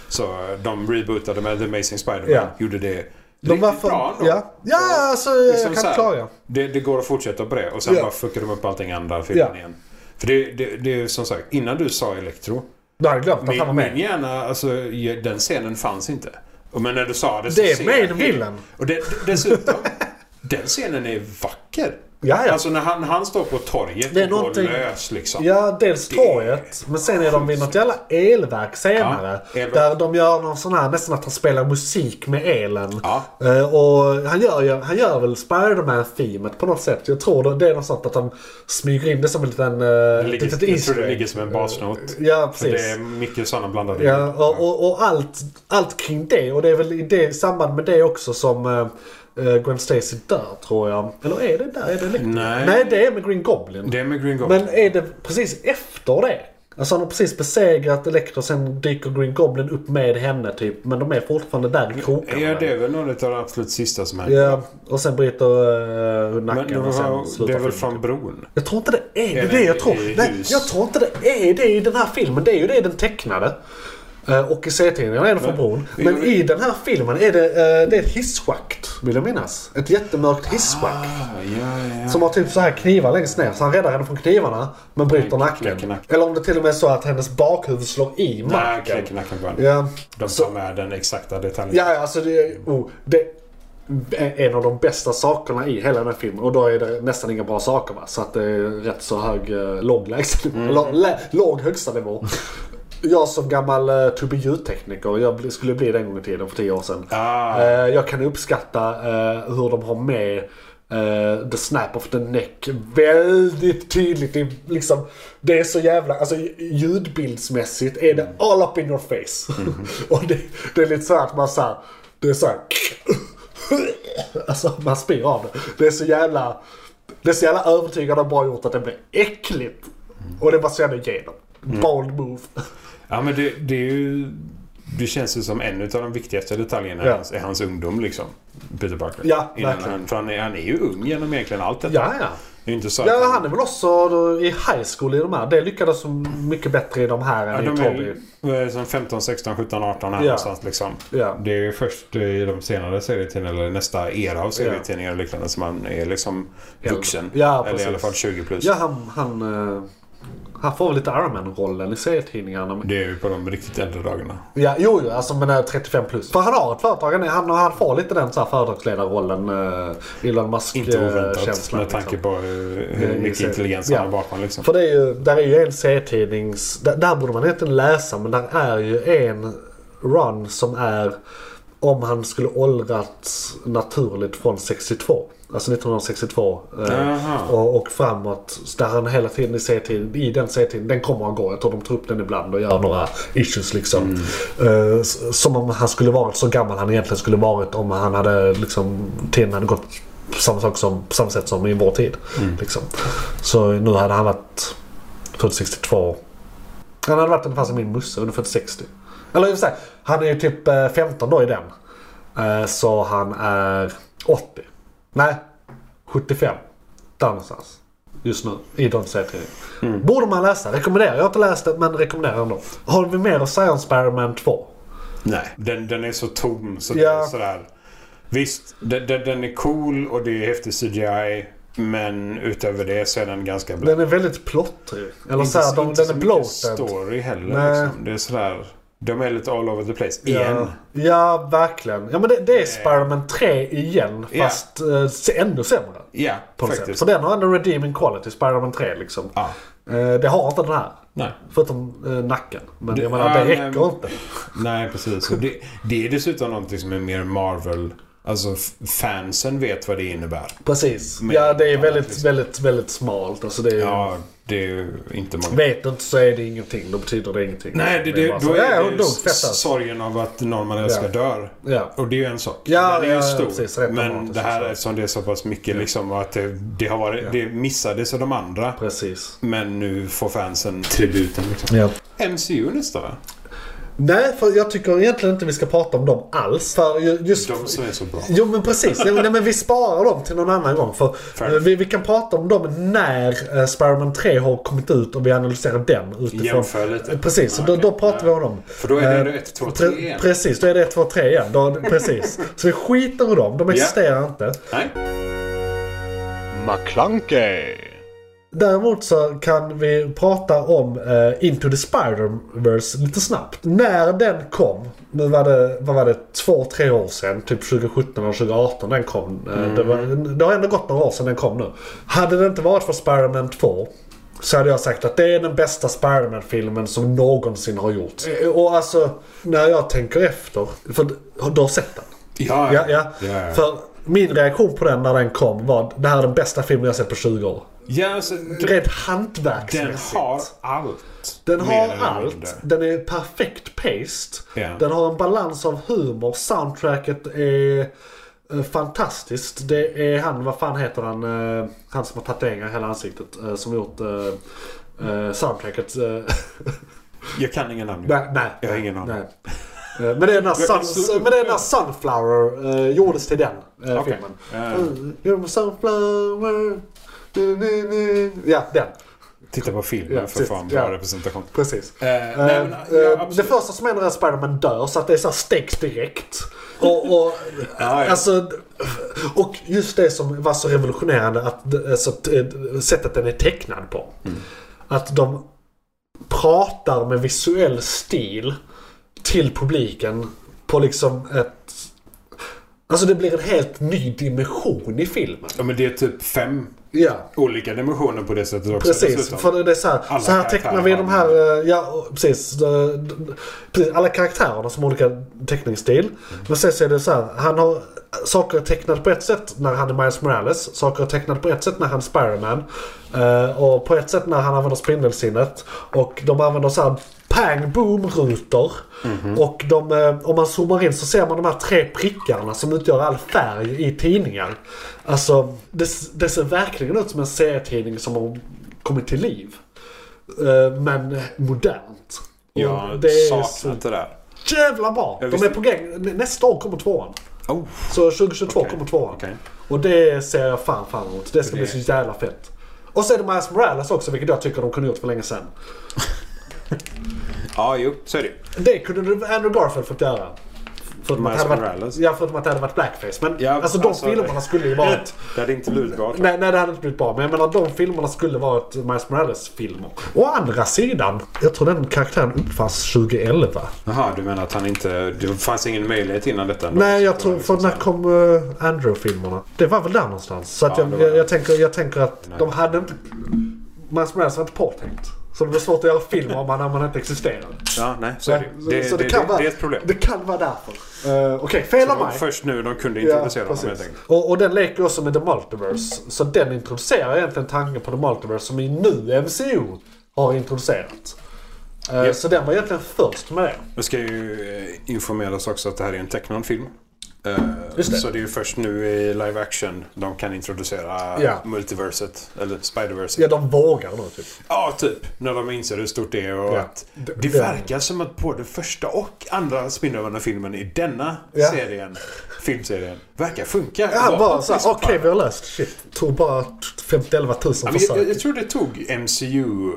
Så de rebootade med The Amazing Spiderman. Ja. Gjorde det De var riktigt för, bra ändå. Ja, ja alltså, Liksom jag så kan här, förklara. Det, det går att fortsätta på det och sen Ja. bara fuckar de upp allting i andra filmen Ja. igen. För det, det, det är ju som sagt, innan du sa Electro. Du hade glömt att han var Min, min med. hjärna, alltså ju- den scenen fanns inte. Och Men när du sa det så Det är ser main jag- villain. Och det, dessutom, den scenen är vacker. Ja, ja. Alltså när han, han står på torget Det är och går någonting- lös liksom. Ja, dels Det- torget. Men sen är de vid något jävla elverk senare. Ja, elverk. Där de gör någon sån här, nästan att han spelar musik med elen. Ja. Eh, och han gör, ju- han gör väl Spiderman-themet på något sätt. Jag tror det, det är något sånt att han smyger in det som en liten... Uh, Det ligger, litet jag tror Easter det egg. ligger som en basnot. Ja, För det precis. är mycket sådana blandade Ja, och, och, och allt, allt kring det. Och det är väl i det, i samband med det också som eh, eh, Gwen Stacy dör, tror jag. Eller är det där? Är det lite- Nej. Nej, det är med Green Goblin. Det är med Green Goblin. Men är det precis efter det? Alltså han har precis besegrat Elektra sen dyker Green Goblin upp med henne typ. Men de är fortfarande där i krokarna. ja, det är väl något av det absolut sista som händer. Ja, och sen bryter eh, hon Men det, nacken och sen var, det slutar är väl filmen. från bron? Jag tror inte det är, Är det, det jag tror. i Nej, hus? jag tror inte det är det i den här filmen. Det är ju det i den tecknade. Eh, Och i serietidningarna är det från Men- bron. vi Men gjorde- i den här filmen är det, eh, det är ett hisschakt, vill jag minnas. Ett jättemörkt hisschakt. Ah, ja, ja. Som har typ så här knivar längst ner. Så han räddar henne från knivarna men bryter Nej, nacken. knäcker nacken. Eller om det till och med är så att hennes bakhuvud slår i Nej, marken. knäcker nacken på honom. Ja. De tar med den exakta detaljen. Ja, ja, alltså det är, oh, det är en av de bästa sakerna i hela den här filmen. Och då är det nästan inga bra saker va. Så att det är rätt så hög eh, låg lägstanivå. Eller lä, låg högsta nivå. Jag som gammal eh, to ljudtekniker, jag bli- skulle bli det en gång i tiden för tio år sedan. Ah. Eh, jag kan uppskatta eh, hur de har med eh, the snap of the neck väldigt tydligt. Det är, liksom, det är så jävla, alltså ljudbildsmässigt är det all up in your face. Och det, det är lite så här att man såhär, det är såhär, alltså man spyr av det. Det är så jävla, det är så jävla övertygande och bra gjort att det blir äckligt. Och det var så jävla genom. Bold move. Ja, men det, det är ju... Det känns ju som en av de viktigaste detaljerna Ja. i, hans, i hans ungdom liksom. Peter Parker. Ja, Innan verkligen. han, för han är, han är ju ung genom egentligen allt detta. Ja, ja. Det är ju inte så att Ja, han är väl också då i high school i de här. Det lyckades så mycket bättre i de här Ja, än i de Toby. är vad är det som 15, 16, 17, 18 här Ja. någonstans liksom. Ja. Det är ju först i de senare serietidningarna, eller nästa era av serietidningar och liknande, som man är liksom Äldre. vuxen. Ja, eller precis. i alla fall 20 plus. Ja, han, han, eh, han får väl lite Iron Man-rollen i serietidningarna. men- Det är ju på de riktigt äldre dagarna. Ja, jo, jo, alltså men eh, 35 plus. För han har ett företag, han, är- han, han får lite den så här företagsledarrollen. Uh, Elon eh, Inte oväntat Musk-känslan. med tanke på hur, liksom. Det är hur ju mycket så- intelligens han Mm. ja. har bakom. Liksom. För det är ju, där är ju en serietidnings... Där, där borde man egentligen läsa men där är ju en run som är om han skulle åldrats naturligt från 62. Alltså 1962 Jaha. eh, och, och framåt. Så Där han hela tiden i, serietiden, i den serietiden, den kommer att gå. Jag tror de tar upp den ibland och gör några issues liksom. Eh, s- som om han skulle varit så gammal han egentligen skulle varit om han hade liksom, tiden hade gått på samma, sak som, på samma sätt som i vår tid. Liksom. Så nu hade han varit 42. Han hade varit ungefär som min musse, ungefär 60. Eller i och för sig, han är ju typ eh, 15 då i den. Eh, Så han är 80. Nej, 75. Där någonstans. Just nu, i de serietidningarna. Borde man läsa, rekommenderar. Jag har inte läst det, men rekommenderar ändå. Har vi mer att säga om Spider-Man 2? Nej. Den, den är så tom så Ja. det är sådär. Visst, den, den, den är cool och det är häftig CGI. Men utöver det så är den ganska blöt. Den är väldigt plottrig. Eller Inte så här, så- de, inte den så är mycket bloated. story heller. Nej. Liksom. Det är sådär... De är lite all over the place. Ja, Igen. ja, verkligen. Ja, men det, det är Spiderman 3 igen, Ja. fast eh, se- ännu sämre. Ja, På något sätt. faktiskt. Så den har ändå redeeming quality, Spiderman 3 liksom. Ja. Eh, det har inte den här. Nej. Förutom eh, nacken. Men Det- jag menar, ja, det nej, räcker men- inte. Nej, precis. Och Det, det är dessutom någonting som är mer Marvel... Alltså f- fansen vet vad det innebär. Precis. Men- ja, det är ja, väldigt, liksom. väldigt, väldigt smalt. Alltså det är, Ja, det är ju inte många. Vet du inte så är det ingenting. Då betyder det ingenting. Nej, det, är det, bara då så, är ja, det dumt, fett, alltså. sorgen av att någon man älskar Ja. dör. Ja. Och det är ju en sak. Ja, Den är ju ja, ja, stor. precis. Rätt men dramatiskt, det här så. eftersom det är så pass mycket liksom och att det, det har varit, det missades av de andra. Precis. Men nu får fansen tributen liksom. Ja. MCU nästa va? Nej, för jag tycker egentligen inte vi ska prata om dem alls. För ju- just... De som är så bra. Jo men precis, Nej, men- nej, men vi sparar dem till någon annan gång. För Fair. eh, vi, vi kan prata om dem när eh, Spiderman 3 har kommit ut och vi analyserar den utifrån. Jämför lite. Eh, Precis, Ja, då, då okej. pratar vi Ja. om dem. För då är det Eh, ändå ett, två, pre- tre igen. Precis, då är det 1, 2, 3 igen. Då, precis. Så vi skiter i dem, de existerar inte. Nej? McClunkey. Däremot så kan vi prata om eh, Into the Spider-Verse lite snabbt. När den kom, nu var det, vad var det, två, tre år sedan, typ 2017 eller 2018 den kom. Eh, det, var, det har ändå gått några år sedan den kom nu. Hade det inte varit för Spider-Man 2 så hade jag sagt att det är den bästa Spider-Man-filmen som någonsin har gjorts. Eh, Och alltså, när jag tänker efter, för du har sett den? Ja, Ja, ja. ja. För min reaktion på den när den kom var det här är den bästa filmen jag sett på 20 år. ja alltså, Rent den hantverksmässigt. har allt. Den Mer har eller mindre. allt. Den är perfekt paced. Ja. Den har en balans av humor. Soundtracket är eh, fantastiskt. Det är han, vad fan heter han? eh, Han som har tatueringar i hela ansiktet. eh, Som gjort eh, eh, soundtracket. eh, Jag kan ingen namn. nej, nej. Jag har ingen aning. Nej. Eh, Men det är när, kan sun, slå upp men det är när Sunflower eh, gjordes till den eh, Okej. filmen. Ja. Mm, You're my sunflower. Du, du, du. Ja, den. Titta på filmen Ja, för precis. fan. Bra Ja. representation. Precis. Eh, nej, men, Eh, ja, eh, det absolut. första som händer är att Spiderman dör så att det är så här stängt direkt. Och, och, Ja, ja. Alltså, och just det som var så revolutionerande att det- alltså, t- sättet den är tecknad på. Mm. Att de pratar med visuell stil till publiken på liksom ett... Alltså det blir en helt ny dimension i filmen. Ja, men det är typ fem Ja. olika dimensioner på det sättet också. Precis, dessutom. för det är så här, Alla så här karaktärer tecknar vi har de en- här, eh, ja och precis, eh, d- d- precis. Alla karaktärerna som har olika teckningsstil. Men sen så är det så här, han har saker tecknat på ett sätt när han är Miles Morales. Saker tecknat på ett sätt när han är Spiderman. eh, Och på ett sätt när han använder spindelsinnet. Och de använder så här pang boom rutor. Mhm. Och de, eh, om man zoomar in så ser man de här tre prickarna som utgör all färg i tidningar. Alltså det, det ser verkligen ut som en serietidning som har kommit till liv. Eh, Men modernt. Och Jag det är saknar så inte det där. jävla bra! Jag De visste- är på gång. Nästa år kommer tvåan. Oh, Så 2022 Okej. kommer tvåan. Okej. Och det ser jag fan fram emot. Det ska Det- bli så jävla fett. Och så är det Miles Morales också, vilket jag tycker de kunde gjort för länge sedan. ja, jo, så är det ju. Det kunde du- Andrew Garfield fått göra. Förutom att, Miles det hade varit, Morales? ja, förutom att det hade varit blackface. Men Ja, alltså de alltså, filmerna det- skulle ju varit... Det hade inte blivit bra. tror jag. Nej, nej, det hade inte blivit bra. Men jag menar, de filmerna skulle varit Miles Morales-filmer. Å andra sidan, jag tror den karaktären uppfanns 2011. Jaha, du menar att han inte... Det fanns ingen möjlighet innan detta? ändå? Nej, Så jag det tror... var För när liksom så här- kom eh, Andrew-filmerna? Det var väl där någonstans. Så att Ja, det jag, var jag, det. jag, tänker, jag tänker att Nej. de hade inte... Miles Morales var inte påtänkt. Så det blir svårt att göra filmer om man, när man inte existerar. Ja, nej, så är det ju. Det, så det, det, det är ett problem. Det kan vara därför. Eh, Okej, fel Det av var mig. först nu de kunde Ja, introducera honom precis. helt enkelt. och, och den leker också med The Multiverse. Så den introducerar egentligen tanken på The Multiverse som i nu MCU har introducerat. Eh, Japp. Så den var egentligen först med det. Det ska ju eh, informeras också att det här är en tecknad film. Eh, Just det. Så det är ju först nu i live action de kan introducera Ja. multiverset, eller spiderverset. Ja, de vågar nu typ. Ja, typ. När de inser hur stort det är och Ja. att D- det, den- verkar som att både första och andra Spindelmannen-filmen i denna Ja. serien, filmserien, verkar funka. Ja, Var- bara såhär, liksom, okej vi har löst shit. Tog bara 511 000 Ja, men försök. jag, jag, jag tror det tog MCU,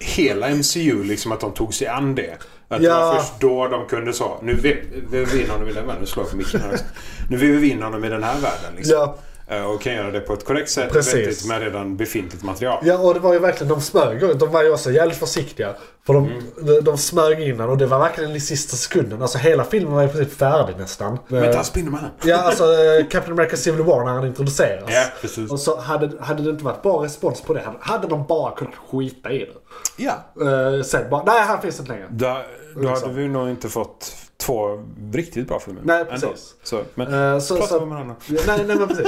hela MCU, liksom att de tog sig an det. Att det Ja. var först då de kunde så. Nu vevar vi in honom i den världen. Nu slår jag på micken här. också. Nu vevar vi in honom i den här världen. Liksom. Ja. eh, och kan göra det på ett korrekt sätt Precis. vettigt med redan befintligt material. Ja, och det var ju verkligen, de smög runt. De var ju också jävligt försiktiga. För de, Mm. de, de smög innan och det var verkligen i sista sekunden. Alltså hela filmen var i princip färdig nästan. Men Eh, ta Spindelmannen! Ja, alltså eh, Captain America Civil War när han introduceras. Ja, precis. Och så hade, hade det inte varit bra respons på det, hade- hade de bara kunnat skita i det. Ja. Eh, sen bara, nej han finns inte längre. Då, då hade vi nog inte fått två riktigt bra filmer. Nej, ändå. precis. Så, men Eh, så, prata så, med varandra. Mm. Ja, nej, nej men precis.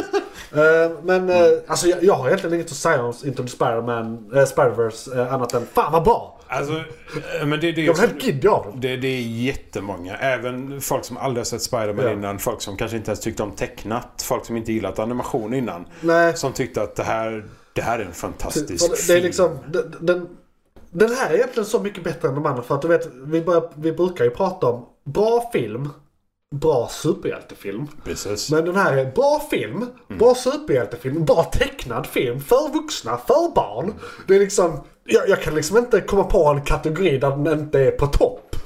Eh, men eh, alltså, jag, jag har egentligen inget att säga om Into the Spider-Man, eh, Spider-Verse eh, annat än fan vad bra! Alltså, eh, men det, det, är Jag ju- blev helt giddig av den. det, det är jättemånga. Även folk som aldrig har sett Spider-Man Ja. innan. Folk som kanske inte ens tyckte om tecknat. Folk som inte gillat animation innan. Nej. Som tyckte att det här, det här är en fantastisk För det, det är film. liksom, den, den, den här är egentligen så mycket bättre än de andra för att du vet, vi, börjar, vi brukar ju prata om bra film, bra superhjältefilm. Precis. Men den här är bra film, bra superhjältefilm, bra tecknad film för vuxna, för barn. Det är liksom, jag, jag kan liksom inte komma på en kategori där den inte är på topp.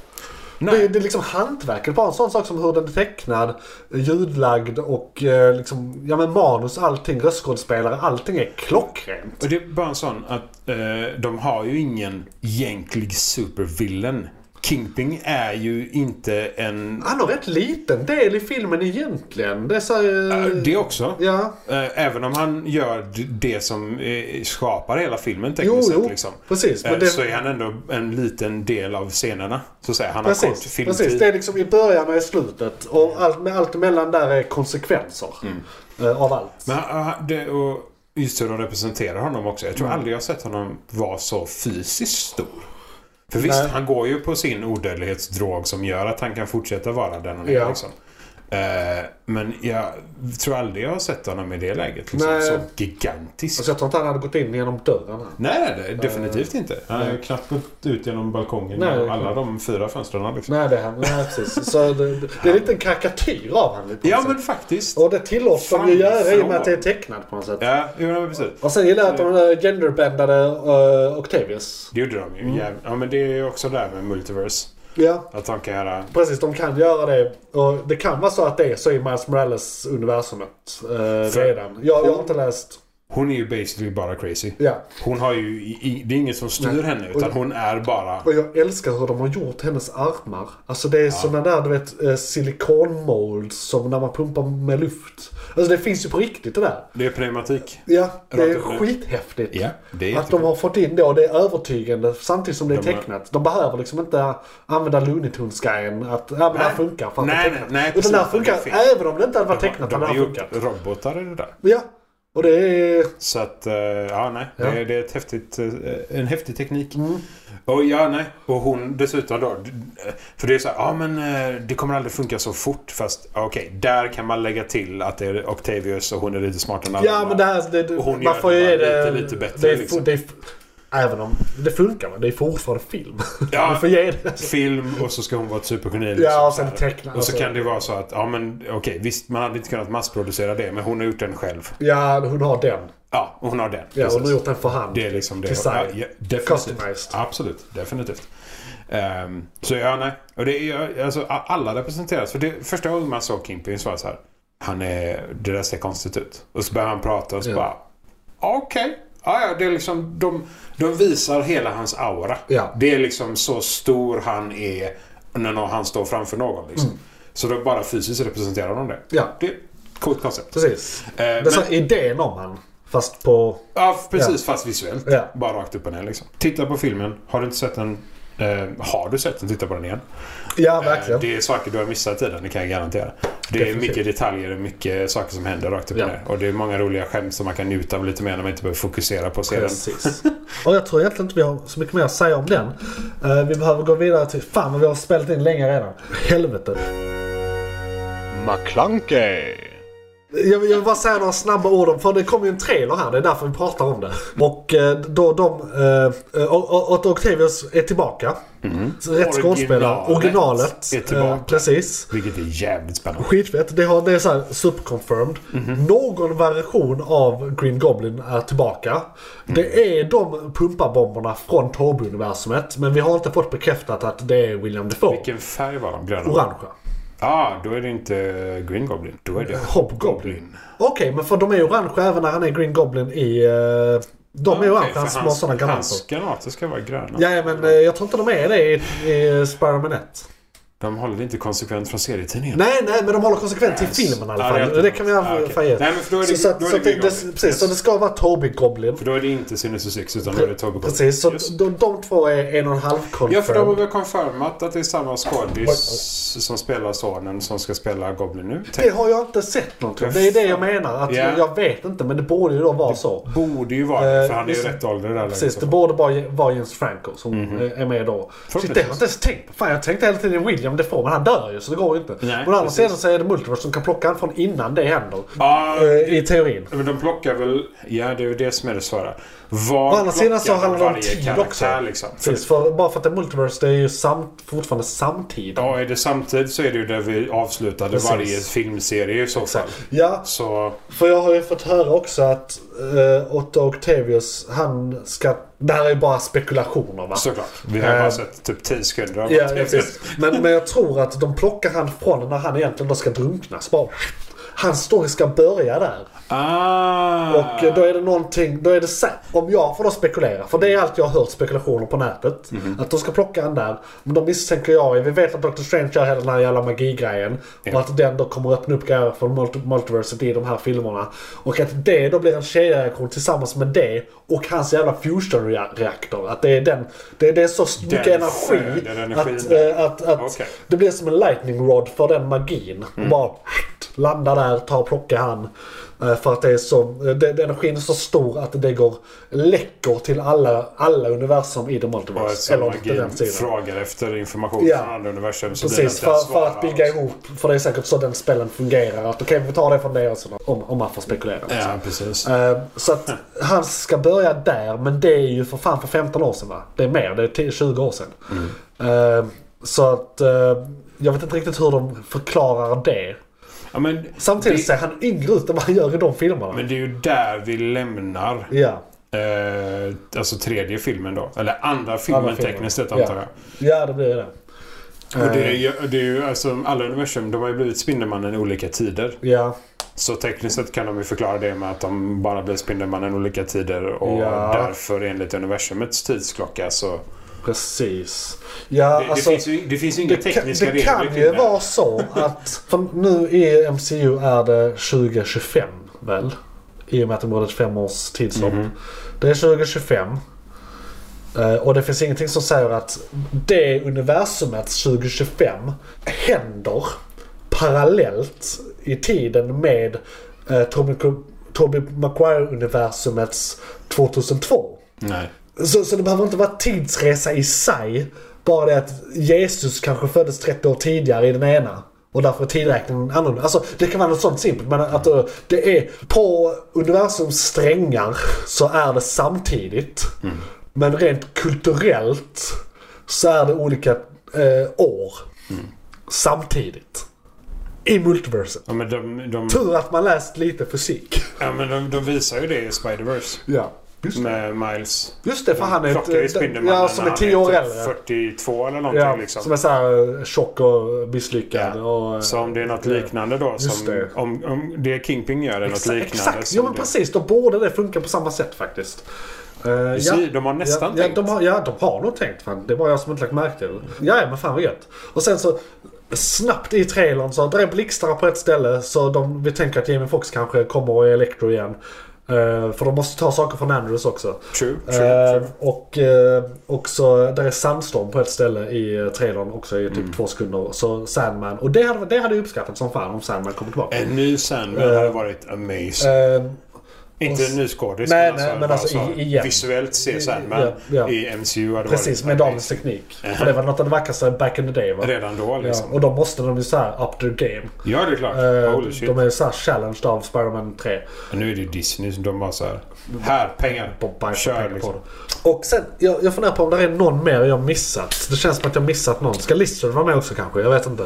Nej. Det, det är liksom hantverket, bara en sån sak som hur den är tecknad, ljudlagd och eh, liksom, ja men manus, allting, röstskådespelare, allting är klockrent. Och det är bara en sån att eh, de har ju ingen egentlig supervillain. Kingpin är ju inte en... Han har rätt liten del i filmen egentligen. Det är så här, eh, Det också. Ja. Eh, Även om han gör d- det som eh, skapar hela filmen Jo, tekniskt jo. sett. Liksom. Precis. Eh, Men det, Så är han ändå en liten del av scenerna. Så att säga. Han har kort precis, filmtid. precis. Det är liksom i början och i slutet. Och allt, med allt emellan där är konsekvenser. eh, Av allt. Mm. Men han- han- det, och just hur de representerar honom också. Jag tror Mm. aldrig jag har sett honom vara så fysiskt stor. För visst, Nej. han går ju på sin odödlighetsdrog som gör att han kan fortsätta vara den han är. Ja. Liksom. Eh, men jag tror aldrig jag har sett honom i det läget. Liksom, Nej. så gigantisk. Alltså jag tror inte han hade gått in genom dörren. här. Nej, det, definitivt inte. Han har ju Eh, knappt gått ut genom balkongen Nej, genom det är alla klart. de fyra fönstren. Liksom. Nej, det är han. Nej, precis. Så det, det- det är lite en karikatyr av han. lite på Ja, något men sätt. faktiskt. Och det tillåts de Fan, ju göra i och med förlåt. att det är tecknat på något sätt. Ja, jo, men precis. Och sen gillar jag att de eh, genderbändade eh, Octavius. Det gjorde de ju. jäv- Ja, men det är ju också där med Multiverse. Ja. Att de kan göra... Precis, de kan göra det. Och det kan vara så att det är så i Miles Morales universumet eh, För- redan. Jag, jag har inte läst... Hon är ju basically bara crazy. Ja. Hon har ju... i- i- Det är ingen som styr Nej. henne, utan hon är bara... Och jag älskar hur de har gjort hennes armar. Alltså det är såna där du vet eh, silikonmolds som när man pumpar med luft. Alltså det finns ju på riktigt det där. Det är pneumatik. Ja, det är Rakt upp. skithäftigt. Ja, det är att de jättekul. har fått in det och det är övertygande samtidigt som det är De har- tecknat. De behöver liksom inte använda Looney Tunes-grejen att ja, men det här Nej. funkar för att Nej, det är tecknat. nej, nej, Utan det här precis. funkar Det är fint. även om det inte hade varit tecknat. de hade det har här gjort funkat. robotar i det där. Ja, och det är... Så att, eh, ja nej. Ja. Mm. Det, är- det är ett häftigt, eh, en häftig teknik. Och ja nej. Och hon dessutom då. d- För det är så här, ja men eh, det kommer aldrig funka så fort. Fast ja, okej, där kan man lägga till att det är Octavius och hon är lite smartare än alla Ja, andra. men det här... Det, det- Och hon man gör får det ju ge bara lite, lite bättre, Det är, liksom. det är, även om det funkar, men det är fortfarande film. Ja. Man får ge det. Film och så ska hon vara ett supergeni. liksom, Ja, och så sen här. teckna- Och så alltså. kan det vara så att, ja men okej, visst man hade inte kunnat massproducera det. Men hon har gjort den själv. Ja, hon har den. Ja, och hon har den. Ja, hon Precis. har gjort den för hand. Det är liksom det. Design. Ja, ja, definitivt. Customized. Absolut, definitivt. Ehm, så ja, nej. Och det är, ju- alltså, a- alla representeras. För det, första gången man såg Kingpin så var jag så här. Han är, det där ser konstigt ut. Och så börjar han prata och så Ja. bara. "Ja, Okej. Ja, ja, det är liksom, de, de visar hela hans aura. Ja. Det är liksom så stor han är när nå- han står framför någon. Liksom. Så då bara fysiskt representerar de det. Mm. Ja. Det är ett coolt koncept. Precis. Eh, Det är så här idén om han. Fast på... Ja, precis. Fast visuellt. Ja. Bara rakt upp och ner liksom. Titta på filmen. Har du inte sett den? Eh, har du sett den? Titta på den igen. Ja, Eh, verkligen. Det är saker du har missat i den, det kan jag garantera. Det är Definitivt. mycket detaljer och mycket saker som händer rakt upp och Ja. ner. Och det är många roliga skämt som man kan njuta av lite mer när man inte behöver fokusera på serien. Precis. Och jag tror egentligen inte vi har så mycket mer att säga om den. Eh, vi behöver gå vidare till... Fan vad vi har spelat in länge redan. Helvete. McClunkey. Jag vill, jag vill bara säga några snabba ord om, för det kom ju en trailer här, det är därför vi pratar om det. Och eh, då de, eh, eh, och- och- Otto Octavius är tillbaka. Rätt skådespelare. Originalet. Mm. är tillbaka. eh, precis. Vilket är jävligt spännande. Skitfett. Det, har, det är så här superconfirmed. Mhm. Någon variation av Green Goblin är tillbaka. Mm. Det är de pumparbomberna från Toby-universumet, men vi har inte fått bekräftat att det är William Defoe. Vilken färg var de? Gröna? Orangea. ah, då är det inte Green Goblin. Då är det Eh, Hobgoblin. Okej, men för de är ju orangea även när han är Green Goblin i... eh, de är ju orangea, hans små sådana granater. Hans granater ska vara gröna. Ja, men eh, jag tror inte de är det i, i Spiderman 1. De håller inte konsekvent från serietidningen. Nej, nej, men de håller konsekvent till filmen i alla Ja, det fall. är alltid det, kan vi något. ah, Ja, okej. fan ge. Nej, men för då är det- Så- så att- då är så det att det- Green det- Goblin. Precis, så det ska vara Toby Goblin. För då är det inte Sinister Six utan då är det Tobey Goblin. Precis, så Just. de, de två är en och en halv confirmed. Ja, för de har väl confirmat att det är samma skådis som spelar sonen som ska spela Goblin nu. Det Tänk, har jag inte sett någonting. Det är det jag menar. Att Ja. Jag vet inte, men det borde ju då vara så. borde ju vara det, för Eh, han är ju precis. rätt ålder där. liksom. Precis, det borde bara vara James Franco som Mhm. eh, är med då. Shit, det har jag inte ens tänkt på. Fan, jag tänkte hela tiden William Defoe, men han dör ju så det går ju inte. Nej, men å andra precis. sidan så är det Multiverse som kan plocka honom från innan det händer. Ja, Eh, I teorin. Men de plockar väl... Ja, det är ju det som är det svåra. Var Å andra sidan så plockar handlar det om varje tid karaktär, också. Liksom? För, Precis, för, bara för att det är Multiverse, det är ju samt, fortfarande samtid. ja, är det samtidigt så är det ju där vi avslutade Precis. varje filmserie i så fall. Ja, Så... För jag har ju fått höra också att eh, Otto Octavius, han ska... Det här är ju bara spekulationer va? Såklart. Vi har bara Eh, sett typ 10 sekunder av Ja, ja, allt. precis. Men, men jag tror att de plockar han från när han egentligen då ska drunkna. Så bara, hans story ska börja där. Ah! Och eh, då är det någonting, då är det sä- om jag får då spekulera, för det är allt jag har hört spekulationer på nätet. Att de ska plocka han där, men då misstänker jag, vi vet att Dr. Strange gör hela den här jävla magigrejen. Och att den då kommer öppna upp grejer för multi- multiverset i de här filmerna. Och att det då blir en kedjereaktion tillsammans med det och hans jävla fusion-reaktor. Att det är den, det, det är så mycket energi. skörden, energin Att, där. eh, att, att Okej. Mm. det blir som en lightning rod för den magin. Och bara landa där, ta och plocka han. Eh, För att det är så, eh, det, det- energin är så stor att det går läckor till alla, alla universum i The Och Multiverse. eftersom Eller till magin den sidan. frågar efter information Ja. från andra universum så Precis, blir det för, inte för att bygga alltså. ihop. För det är säkert så den spelen fungerar. Att okej, vi tar det från det och så, om, om man får spekulera. Ja, precis. Eh, Så att han ska börja där, men det är ju för fan för 15 år sedan va? Det är mer, det är 10 20 år sedan. Mm. Eh, Så att eh, jag vet inte riktigt hur de förklarar det. Ja, men, Samtidigt det, ser han yngre ut än vad han gör i de filmerna. men det är ju där vi lämnar Ja. Eh, alltså tredje filmen då. Eller andra filmen Andra filmen. tekniskt sett Ja. Eh. antar jag. ja, det blir ju det. Och det är, ju- det är ju alltså alla universum, de har ju blivit Spindelmannen i olika tider. Ja, Så tekniskt sett kan de ju förklara det med att de bara blev Spindelmannen i olika tider och Ja. därför enligt universumets tidsklocka så... precis. Ja, Det, alltså, det, finns, ju, det finns ju inga tekniska kan, det regler kan kring ju det. vara så att... För nu i MCU är det 2025 väl? I och med att det var ett fem års tidshopp. Mhm. Det är 2025. Eh, Och det finns ingenting som säger att det universumet 2025 händer parallellt i tiden med eh, Tobey Tobey Maguire-universumets 2002. Nej. Så, så det behöver inte vara tidsresa i sig. Bara det att Jesus kanske föddes 30 år tidigare i den ena. Och därför är tidräkningen annorlunda. Alltså det kan vara något sånt simpelt. Men att eh, det är på universums strängar så är det samtidigt. Mm. Men rent kulturellt så är det olika eh, år. Mm. Samtidigt. I multiverset. Ja, men de, de, Tur att man läst lite fysik. ja, men de, de visar ju det i Spider-Verse Ja. Just det. med Miles. Just det, för han är... Plockar ju ett- eh, Spindelmannen ja, som är när han 10 år typ äldre. 42 eller någonting Ja, liksom. som är så här eh, tjock och misslyckad. Ja. Och, eh, Så om det är något liknande då, Just som, det. Om, om det Kingpin gör är något Exa- liknande. Exakt, som ja men det- precis. Då borde det funka på samma sätt faktiskt. Eh, Precis, de har nästan ja, tänkt. Ja de, har, ja, de har nog tänkt. Fan. Det var jag som inte lagt märke till det. Ja, ja, men fan vad gött. Och sen så snabbt i trailern så där är blixtar på ett ställe så de, vi tänker att Jamie Foxx kanske kommer och är Electro igen. Eh, för de måste ta saker från Andrews också. True, true, Eh, true. och eh, också, där är sandstorm på ett ställe i eh, trailern också i typ Mm. två sekunder. Så Sandman, och det hade, det hade jag uppskattat som fan om Sandman kommer tillbaka. En ny Sandman hade varit amazing. Eh, Inte en ny skådis, Nej, alltså, nej, men bara alltså, så i- igen. visuellt se Sandman Ja, ja. i MCU hade Precis, varit med dagens teknik. För det var något av det vackraste back in the day va? Redan då Ja, liksom. och då måste de ju såhär up their game. Ja, det är klart. Eh, Holy shit. de är ju såhär challenged av Spider-Man 3. Nu är det Disney som de bara så här. Här, pengar. På bank- Kör pengar liksom. på det. Och sen, jag, jag funderar på om det är någon mer jag missat. Det känns som att jag missat någon. Ska Lizard vara med också kanske? Jag vet inte.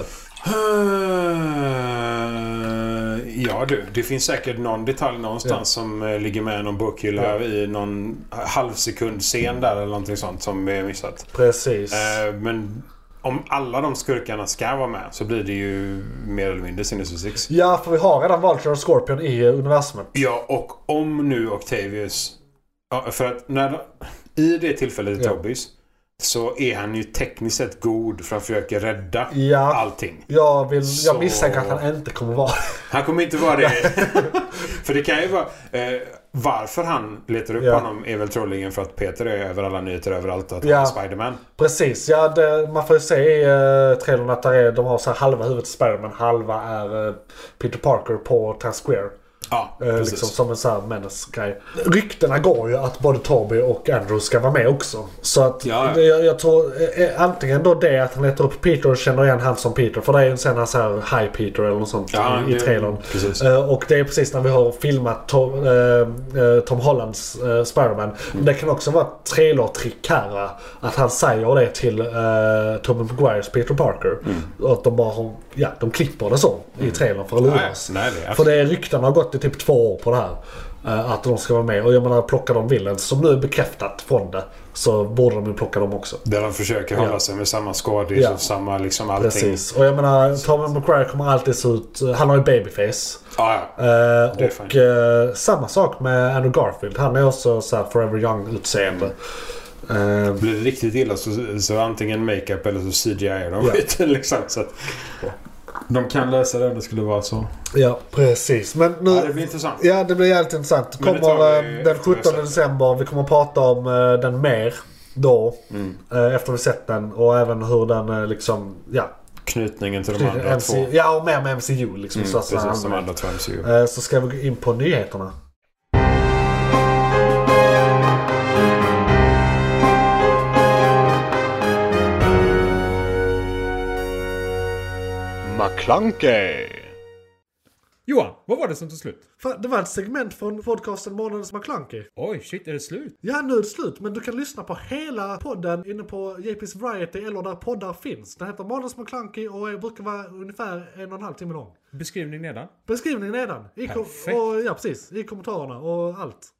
Eh, Ja du, det finns säkert någon detalj någonstans som eh, ligger med i någon bokhylla i någon halvsekund scen där eller någonting sånt som är missat. Precis. Eh, men om alla de skurkarna ska vara med så blir det ju mer eller mindre Sinister Six. Ja, för vi har redan Vulture och Scorpion i eh, universumet. Ja, och om nu Octavius... Ja, för att när, i det tillfället i Ja. Tobbys så är han ju tekniskt sett god för att försöka rädda Ja. allting. Jag, vill, Så- jag misstänker att han inte kommer vara Han kommer inte vara det. för det kan ju vara... Eh, varför han letar upp Ja. honom är väl troligen för att Peter är över alla nyheter överallt att Ja. han är Spiderman. Precis, ja det, man får ju se i uh, trailern att där är, de har så här halva huvudet i Spiderman, halva är eh, Peter Parker på Times Square. Ja, Eh, precis. liksom som en sån här menace-grej. Ryktena går ju att både Toby och Andrew ska vara med också. Så att Ja, ja. Jag, jag tror eh, eh, antingen då det att han letar upp Peter och känner igen han som Peter. För det är ju en sån här, så här Hi Peter eller något sånt Ja, i, i det- trailern. precis. Eh, och det är precis när vi har filmat Tom, eh, eh, Tom Hollands eh, Spiderman. Men det kan också vara ett trailertrick här. va? Att han säger det till eh, Tobey Maguires Peter Parker. Mm. Och att de bara har, ja, de klipper det så i trailern för att Nej, lura oss. nej, det är För det är ryktena har gått i typ två år på det här. eh, Att de ska vara med. Och jag menar plockar de Villains som nu är bekräftat från det. Så borde de ju plocka dem också. Där de försöker hålla Ja. sig med samma skådis Ja. och samma liksom allting. Precis. Och jag menar Tommy McQuarrie kommer alltid se ut... eh, Han har ju babyface. Ja, ja. Eh, Det är och eh, samma sak med Andrew Garfield. Han är också så här forever young-utseende. Eh, Blir det riktigt illa så, så antingen makeup eller så CGI är de Ja. skiten liksom. Så att, de kan lösa det om det skulle vara så. ja, precis. Men nu... Ja, det blir intressant. Ja, det blir jävligt intressant. Men det tar Kommer vi eh, den efter vi har 17 sett den. december. Vi kommer att prata om eh, den mer då. Mm. eh, Efter vi sett den. Och även hur den eh, liksom... Ja, Knytningen till de andra MC, två. Ja, och mer med MCU liksom. Mm, så, att säga. precis, de andra två MCU. Eh, så ska vi gå in på nyheterna. McClunkey. Johan, vad var det som tog slut? Fan, Det var ett segment från podcasten Månadens McKlunky. Oj, shit, är det slut? Ja, nu är det slut, men du kan lyssna på hela podden inne på JP's Variety eller där poddar finns. Den heter Månadens McKlunky och är- brukar vara ungefär en och en halv timme lång. Beskrivning nedan. Beskrivningen nedan. I kom- Perfekt. och, ja, precis. I kommentarerna och allt.